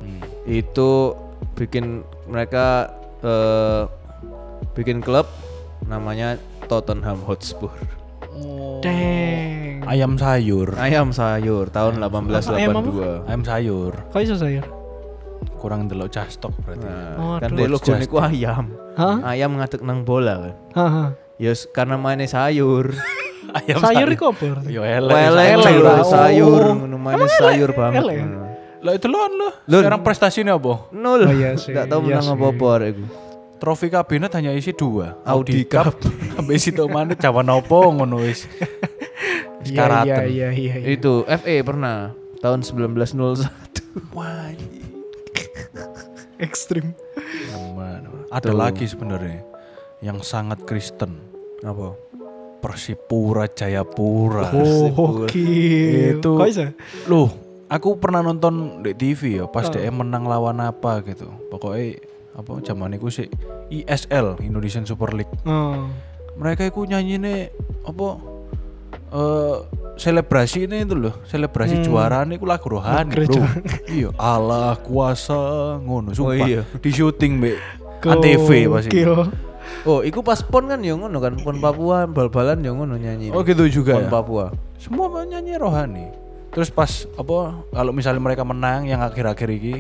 Hmm. itu bikin mereka eh, bikin klub namanya Tottenham Hotspur Deng. Ayam sayur. ayam sayur tahun 1882 Ayam sayur. Kok iso saya? kurang delok castok berarti. Nah, kan Waduh. dulu logo niku ayam. Hah? Ayam ngadeg nang bola kan. Haha. Ya s- karena mainnya *laughs* sayur. Ya, Ayam Sayur iku apa? berarti? Yo elek. Lele sayur. sayur, Oh. sayur, ngono mainnya sayur banget. elek? ngono. Lah itu lon lo. Lon. Sekarang prestasinya apa? Nol. Oh, iya sih, Enggak tahu iya menang sih. apa apa arek iku. Trofi kabinet hanya isi dua. Audi Cup. *laughs* Sampai situ mana cawan opo ngono *laughs* wis. Wis Iya, Iya karaten. iya iya iya. Itu FE pernah tahun 1901. Wah. Ekstrim. Aman. Ada Tuh. lagi sebenarnya yang sangat Kristen. Apa? Persipura Jayapura. Oh, oke. Itu. iya? Kok bisa? Loh, aku pernah nonton di TV ya pas dia menang lawan apa gitu. Pokoknya apa zaman itu sih ISL Indonesian Super League. Oh. Mereka itu nyanyi apa eh selebrasi ini itu loh, selebrasi juara ini lagu rohani, Bro. iya, Allah kuasa ngono sumpah. iya. Di syuting mbek ATV pasti. Gokil. Oh, iku pas pon kan ya ngono kan, pon Papua bal-balan ya ngono nyanyi. Oh gitu juga pon ya. Papua. semua penyanyi rohani terus pas apa kalau misalnya mereka menang yang akhir-akhir ini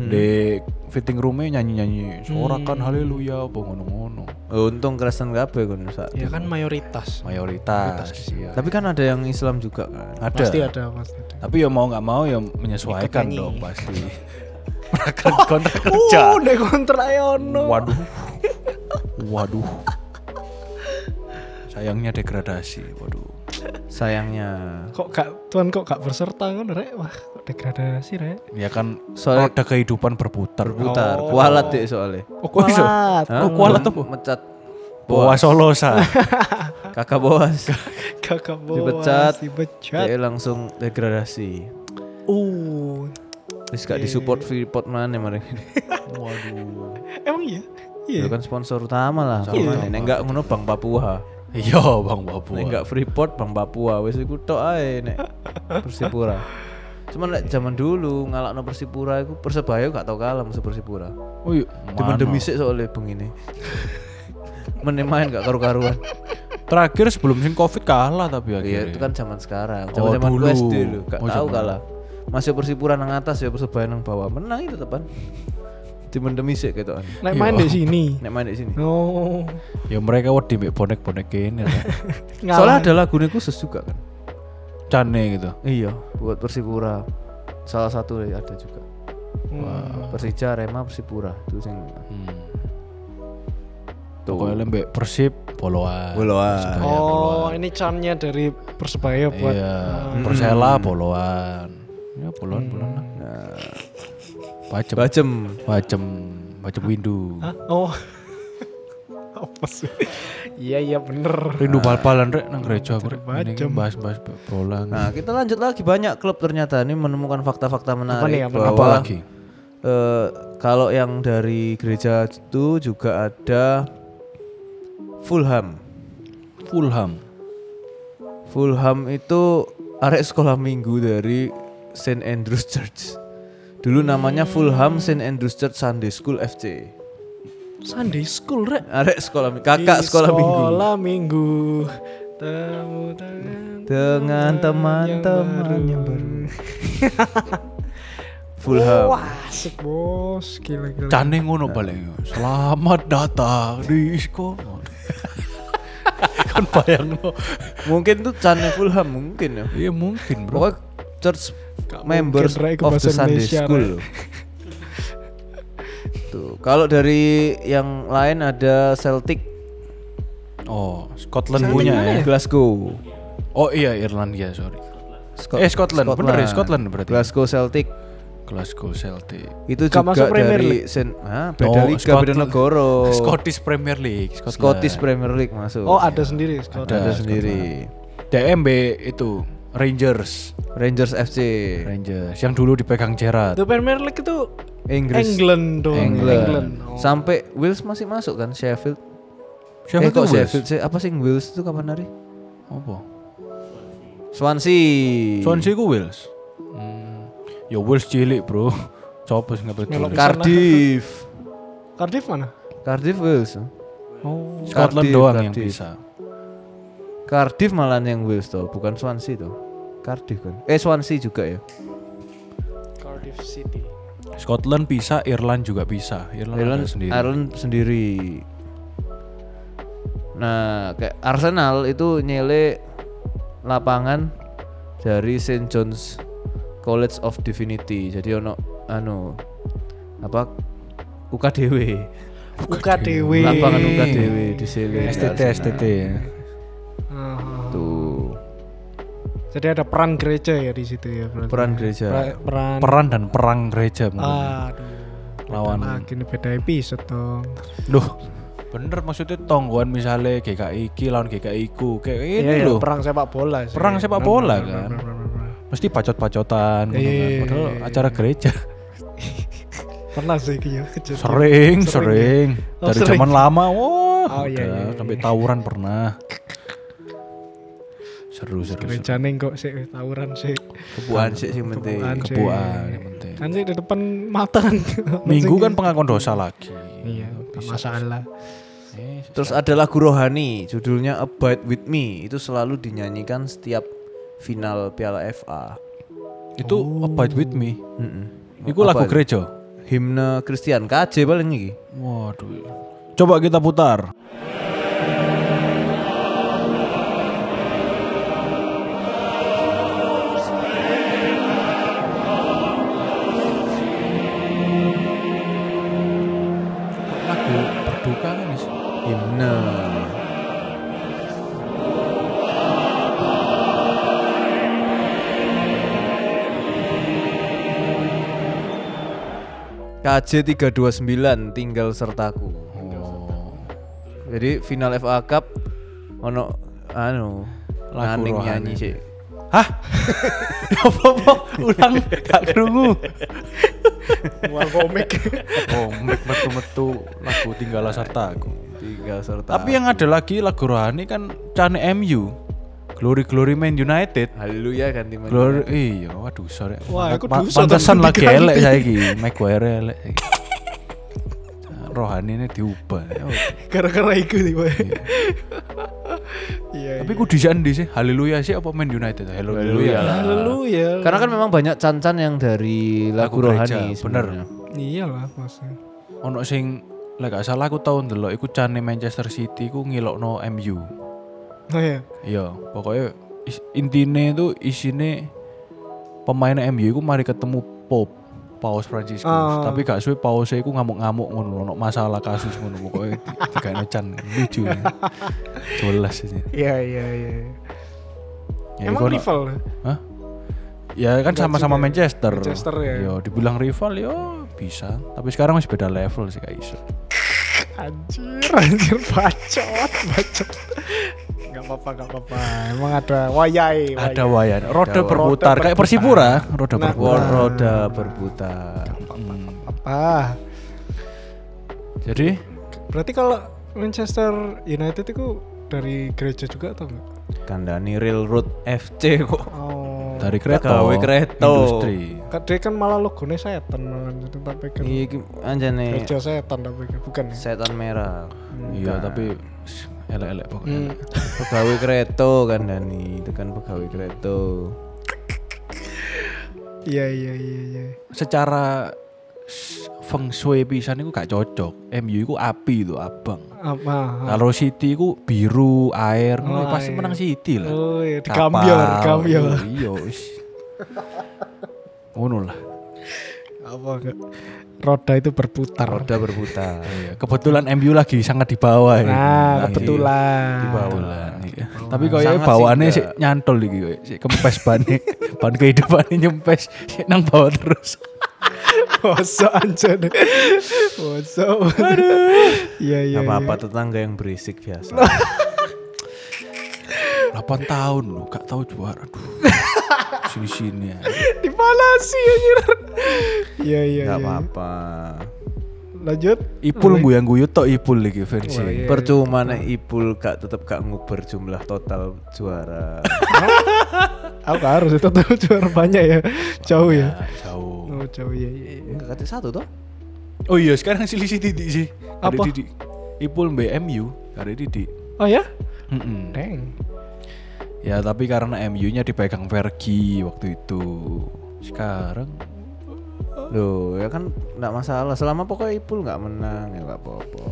Hmm. di fitting roomnya nyanyi-nyanyi sorakan haleluya apa ngono-ngono Oh, untung Kristen kabeh kono sak. Iya. Ya kan mayoritas. mayoritas iya. Tapi kan ada yang Islam juga kan. ada Pasti ada, pasti ada. tapi ya mau nggak mau ya menyesuaikan Ikut nyanyi. dong pasti Mereka kontrak kerja Oh, nek kontrak e ono. waduh waduh sayangnya degradasi waduh Sayangnya Kok gak tuan kok gak berserta ngono rek? Wah, kok degradasi rek. *laughs* ya kan Soalnya- roda kehidupan berputar putar, kualat deh soalnya. oh, kok iso? Kualat. oh, kualat apa? Mecat Boa Solosa kakak boas. *laughs* Kakak boas. Dipecat. Iya. dipecat. Dia langsung degradasi. Uh. Terus Iya, gak disupport Freeport mana mereka. waduh Emang iya? Itu Iya. kan sponsor utama lah. Iya. Nek enggak ngono Bang Papua. iya bang Papua Nek enggak Freeport Bang Papua wis iku tok ae nek Persipura. Cuman nek zaman dulu ngalakno Persipura iku Persebaya gak tau kalah musuh Persipura. *laughs* Oh iya, Demen demi sik soalnya begini. Meneh main gak karu-karuan. Terakhir sebelum sing Covid kalah tapi Iya, akhirnya. itu kan zaman sekarang. Oh, Zaman-zaman dulu. gue SD lu, gak Oh, tahu zaman. kalah. Masih Persipura nang atas ya Persebaya nang bawah. Menang itu tepan. Timun demi sik gitu kan. Nek main Iya. di sini. Nek main di sini. Oh. Ya mereka wedi mbek bonek-bonek ini lah. Ngalah. Soalnya ada lagunya khusus juga kan. Cane gitu. Iya, buat Persipura. Salah satu ya, ada juga. Persija, Rema, Persipura itu sing. Hmm. Tuh. Pokoknya mbek Persib boloan. Boloan. Persebaya Oh, boloan. ini charmnya dari Persebaya buat Iya, Persela boloan. Ya boloan boloan lah. Pacem. Bajem. Pacem. Pacem windu. Hah? Oh. *laughs* Apa sih? Iya iya bener. Rindu bal-balan rek nang gereja aku rek. Ini kan Pacem. bahas-bahas bal- bola. Nah, kita lanjut lagi banyak klub ternyata ini menemukan fakta-fakta menarik nih, apa nih? bahwa Apa lagi? eh, kalau yang dari gereja itu juga ada Fulham. Fulham. Fulham itu arek sekolah minggu dari St Andrews Church. Dulu namanya Fulham St Andrews Church Sunday School FC. Sunday school rek. *laughs* Arek sekolah mi- kakak Di sekolah minggu. Sekolah minggu. Temu tangan Dengan yang teman-teman yang baru. baru. Fulham. Wah, asik bos. Gila gila. Cane ngono paling. Selamat datang di sekolah. kan bayang Mungkin tuh Cane Fulham mungkin ya. Iya mungkin bro. Pokoknya church Gak members mungkin, Ray, ke of bahasa the Sunday Indonesia, *laughs* School. Tuh, kalau dari yang lain ada Celtic Oh, Scotland punya ya. Glasgow. Oh iya Irlandia, sorry. Scot- Eh, Scotland. Bener ya, Scotland berarti. Glasgow Celtic Glasgow Celtic. itu Gak juga masuk Premier dari Sen, ah, beda Oh, liga, beda Scotland. *laughs* negara. *laughs* Scottish Premier League, Scotland. Scottish Premier League masuk. Oh, ada sendiri sekolah. ada, sendiri. DMB itu Rangers, Rangers FC. Rangers yang dulu dipegang Gerrard. The Premier League itu Inggris. England dong. England. Oh. Sampai Wales masih masuk kan Sheffield. Siapa eh, kok tuh Wales? Sheffield sih? Apa sih yang Wales itu kapan hari? Apa? Swansea. Swansea ku Wales. Hmm. Ya Wales cilik, Bro. *laughs* Coba sing Melok betul. Cardiff. Cardiff mana? Cardiff Wales. Oh. Scotland Cardiff, doang yang Cardiff. bisa. Cardiff malah yang Wales tuh, bukan Swansea tuh. Cardiff kan. Eh Swansea juga ya. Cardiff City. Scotland bisa, Irland juga bisa. Irland, ada Ireland sendiri. sendiri. Ireland sendiri. Nah, kayak Arsenal itu nyele lapangan dari St John's College of Divinity. Jadi ono anu apa UKDW. UKDW. Lapangan UKDW di sini. STT STT. ya. Ah, ah. Tuh, Jadi ada peran gereja ya di situ ya berarti. peran gereja. Ah. Pra- peran. Peran dan perang gereja mungkin. Aduh. beda Lawan. Lagi nih beda episode dong. Loh, bener maksudnya tonggoan misalnya GKI iki lawan GKI ku kayak ini Iya, iya, loh. perang sepak bola. sih. Perang sepak Iya, Benar, bola benar, kan. benar, benar, benar. Mesti pacot-pacotan gitu kan. Iya. Padahal acara *laughs* gereja. Pernah sih iya, kejadian. Sering, sering. iya. Oh, Dari sering. zaman lama. Wah, Oh, udah, iya, iya, iya. sampai tawuran pernah. Seru, seru, seru. Gereja neng kok sih tawuran sih. Kebuan sih yang penting. Kebuan sih. Kebuan yang penting. Kan sih di depan mata *laughs* kan. Minggu kan pengakuan dosa lagi. Iya, nggak masalah. Eh, Terus ada lagu rohani, judulnya Abide With Me. Itu selalu dinyanyikan setiap final Piala FA. itu Oh. Abide With Me. Mm-mm. Iku lagu Abide. gereja. himne Christian KJ paling iki. Waduh. Coba kita putar. Kok lagu berduka kan ini sih? Himne. KJ 329 tinggal sertaku. Oh. Jadi final FA Cup ono anu Lagu Naning rohani. nyanyi sih. Hah? *laughs* Apa-apa? Ulang gak krungu. Mual komik. Oh, metu-metu lagu tinggal serta aku. Tinggal sertaku. Tapi yang ada lagi lagu rohani kan Cane MU. Glory Glory Man United. haleluya ganti men. Glory iya waduh sore. Wah, aku dosa pantesan lagi tadi ganti. elek saiki, Maguire elek. saiki. Rohani ini diubah. Ya, oke. Gara-gara itu nih, Pak. Iya. Tapi ku disian di sih. Haleluya sih apa Man United? Haleluya. Haleluya iya. eh, lah. Haleluya. Karena kan memang banyak cancan yang dari Lagu lagu, gereja, rohani. sebenarnya. iyalah maksudnya. Ono sing lek gak salah aku tahun ndelok iku cane Manchester City ku ngilokno MU. Oh iya. Iya, pokoknya is- intine itu isine pemain MU iku mari ketemu Pope Paus Franciscus, Ah. tapi gak suwe pausnya iku ngamuk-ngamuk ngono, ono masalah kasus ngono pokoknya tiga nocan lucu ya. Jelas ini. Iya iya iya. Ya, iku Emang ono- rival. Hah? Ya kan Enggak sama-sama juga ya. Manchester. Manchester ya. Yo, dibilang rival yo bisa, tapi sekarang masih beda level sih kayak iso. Anjir, anjir bacot, bacot. Enggak apa-apa, enggak apa-apa. Emang ada wayai, wayai. Ada wayan, roda Roda berputar kayak berputar. Persipura, Ah, roda Nah, berputar. nah. Roda berputar. apa. Jadi Ah, Berarti kalau Manchester United itu dari gereja juga atau enggak? Kandani Railroad FC kok. Oh. dari kereta Pegawai kereta. industri Kan dia kan malah logonya setan malah itu tak pikir. Iya ki- anjane Gereja setan tak pikir, bukan ya? setan merah. Ya, iya tapi s- elek-elek pokoknya Hmm. Pegawai kereta Kandani, itu kan pegawai kereta. Iya iya iya iya. secara s- feng shui pisan itu gak cocok MU itu api itu abang Apa? Ah. kalau City itu biru air ngono, Oh, pasti air. menang City lah Oh iya, di Kapal, Gambiar, Gambiar. iya wis. ngono lah Apa enggak? Roda itu berputar. Roda berputar. iya. kebetulan MU lagi sangat di bawah ya. Iya. Nah, Lagi kebetulan. di bawah lah iya. tapi kayaknya Sangat bawaannya sih sih nyantol iki koyo sih kempes bane *laughs* ban kehidupannya nyempes sih nang bawah terus Bosok anjir. Bosok. Iya iya. Gak iya. apa-apa tetangga yang berisik biasa. 8 tahun loh, gak tahu juara. Aduh. *laughs* Sini-sini ya. Dipalasi anjir. Iya iya. Gak iya. apa-apa. Lanjut. Ipul guyang-guyu tok ipul iki versi. Wah, iya. Percuma nek Ipul gak tetep gak nguber jumlah total juara. Aku gak harus itu tuh *laughs* juara banyak ya. Jauh ya. Nah, jauh. Oh jauh iya iya. iya. Enggak kata satu toh? Oh iya, sekarang selisih titik sih. Dari Apa? titik. Ipul BMU dari titik. Oh ya? Mm-mm. Deng. Ya tapi karena MU-nya dipegang Vergi waktu itu. Sekarang Loh, ya kan nggak masalah. Selama pokoknya Ipul nggak menang ya nggak apa-apa.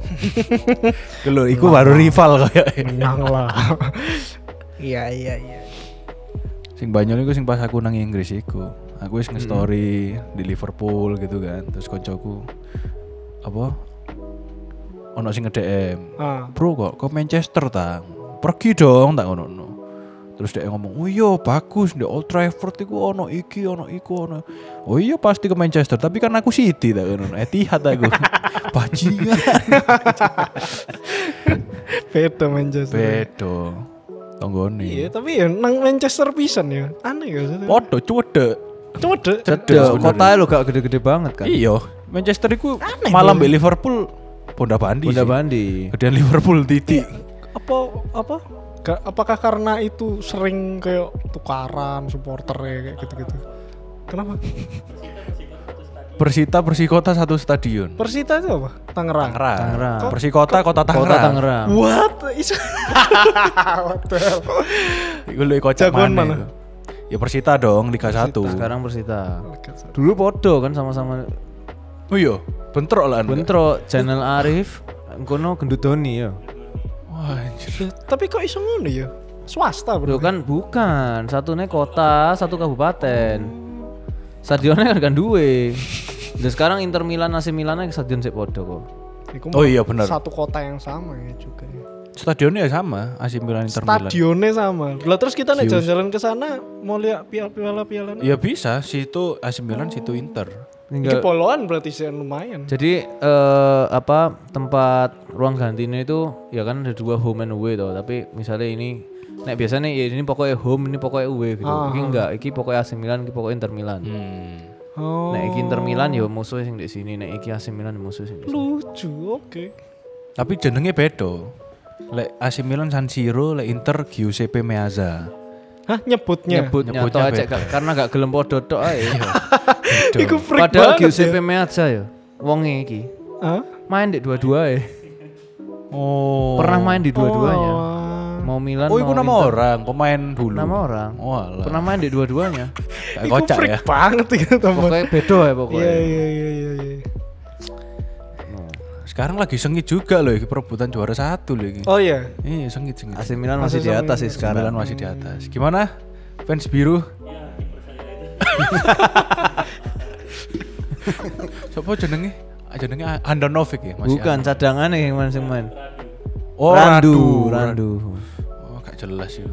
Lho, iku baru rival kayak. menang lah *laughs* iya iya iya Sing Banyol iku sing pas aku nang Inggris iku. Aku wis nge-story di Liverpool gitu kan. Terus koncoku apa? Ono sing nge-DM. ah Bro kok ke Manchester ta? Pergi dong tak ngono. no. Terus dia ngomong, "Oh iya, bagus di Old Trafford iku ono iki, ono iku ono." Oh iya pasti ke Manchester, tapi kan aku City tak ngono. Etihad aku. Bajingan. beda Manchester Bedo. Tonggone. iya tapi ya nang Manchester pisan ya aneh gak sih Podo cuwedek. coba deh Cedek, Cedek, kota lo Ya, gak gede-gede banget kan. Iya, Manchester iku Aneh, malam Bro. mbek Liverpool Ponda Bandi. Bunda sih. Bandi. Gedean Liverpool titik. apa apa Ka- apakah karena itu sering kayak tukaran supporter kayak gitu-gitu kenapa Persita Persikota satu stadion. Persita itu apa Tangerang Tangerang. Tangerang. Persikota Kota Tangerang. Kota Tangerang. what *laughs* Is- What the hell? Iku lu kocak Jagoan maneh mana? iku. Ya Persita dong Liga 1. Sekarang Persita. Dulu podo kan sama-sama Oh iya, bentrok lah Anda. Bentro channel Arif Engkono gendut Doni ya. Wah, anjir. Ya, tapi kok iso ngono ya swasta bro Bro kan bukan, satunya kota, satu kabupaten. Stadionnya kan kan *laughs* duwe. Dan sekarang Inter Milan, AC Milan stadion sik podo kok. Iku Oh mah iya, bener. satu kota yang sama ya juga ya. Stadionnya sama, AC Milan Inter Milan. stadionnya sama lah terus kita nih jalan-jalan ke sana mau lihat piala-piala piala Iya, Ya bisa, situ AC Milan, situ Inter. Ini Tinggal poloan berarti sih lumayan Jadi eh, apa tempat ruang gantinya itu ya kan ada dua home and away toh, tapi misalnya ini nek biasanya ya ini pokoknya home, ini pokoknya away gitu. Ah. Ini enggak, iki pokoknya AC Milan, iki pokoknya Inter Milan. Hmm. oh Nek iki Inter Milan ya musuhnya sing di sini, nek iki AC Milan ya musuhnya sing di sini. lucu oke Tapi jenenge beda. Lek AC Milan San Siro, lek Inter Giuseppe Meazza. hah nyebutnya Nyebutnya, Nyebutnya ya? toh aja beda. gak- karena gak gelem podo tok *laughs* ae. *laughs* Iku freak banget Padahal ya. Giuseppe Meazza ya. Wonge iki Hah? main di dua-dua ya. Oh. Pernah main di Oh, dua-duanya. Wah. Mau Milan Oh, itu mau nama Inter. orang, Oh, pemain dulu. Kan Nama orang. Walah. Pernah main di *laughs* dua-duanya. Kayak Iku kocak freak ya. banget gitu teman. Pokoknya beda ya pokoknya. Iya iya iya iya. iya. Sekarang lagi sengit juga loh iki perebutan juara satu loh iki. Oh iya. Iya, sengit-sengit. AC Milan masih di atas sih sekarang. Milan masih di atas. Gimana? Fans *laughs* biru? Siapa jenenge? Ah, Jenenge Andanovic ya, masih. Bukan cadangan yang main sing main. An- Oh, Radu. Randu. Oh, gak jelas itu.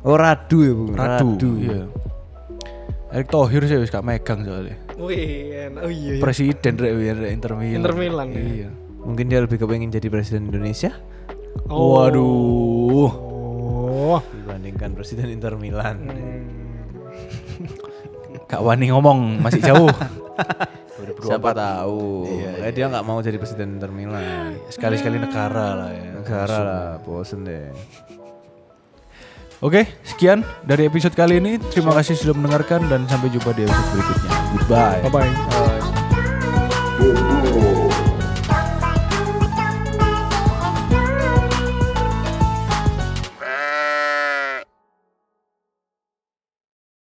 Oh Radu ya bu. Radu. Iya. Erick Thohir sih wis gak megang soalnya. Wih, en- oh iya. iya. Presiden rek rek Inter Milan. Inter Milan, ya. Iya. Mungkin dia lebih kepengen jadi presiden Indonesia Oh. Waduh. Oh. dibandingkan presiden Inter Milan. Kak Wani ngomong masih *laughs* jauh. Siapa tahu. Eh, dia nggak mau jadi presiden Inter Milan. Ya, Sekali-sekali negara lah ya. Negara lah, bosen deh. Oke, sekian dari episode kali ini. Terima kasih sudah mendengarkan dan sampai jumpa di episode berikutnya. Goodbye. Bye bye.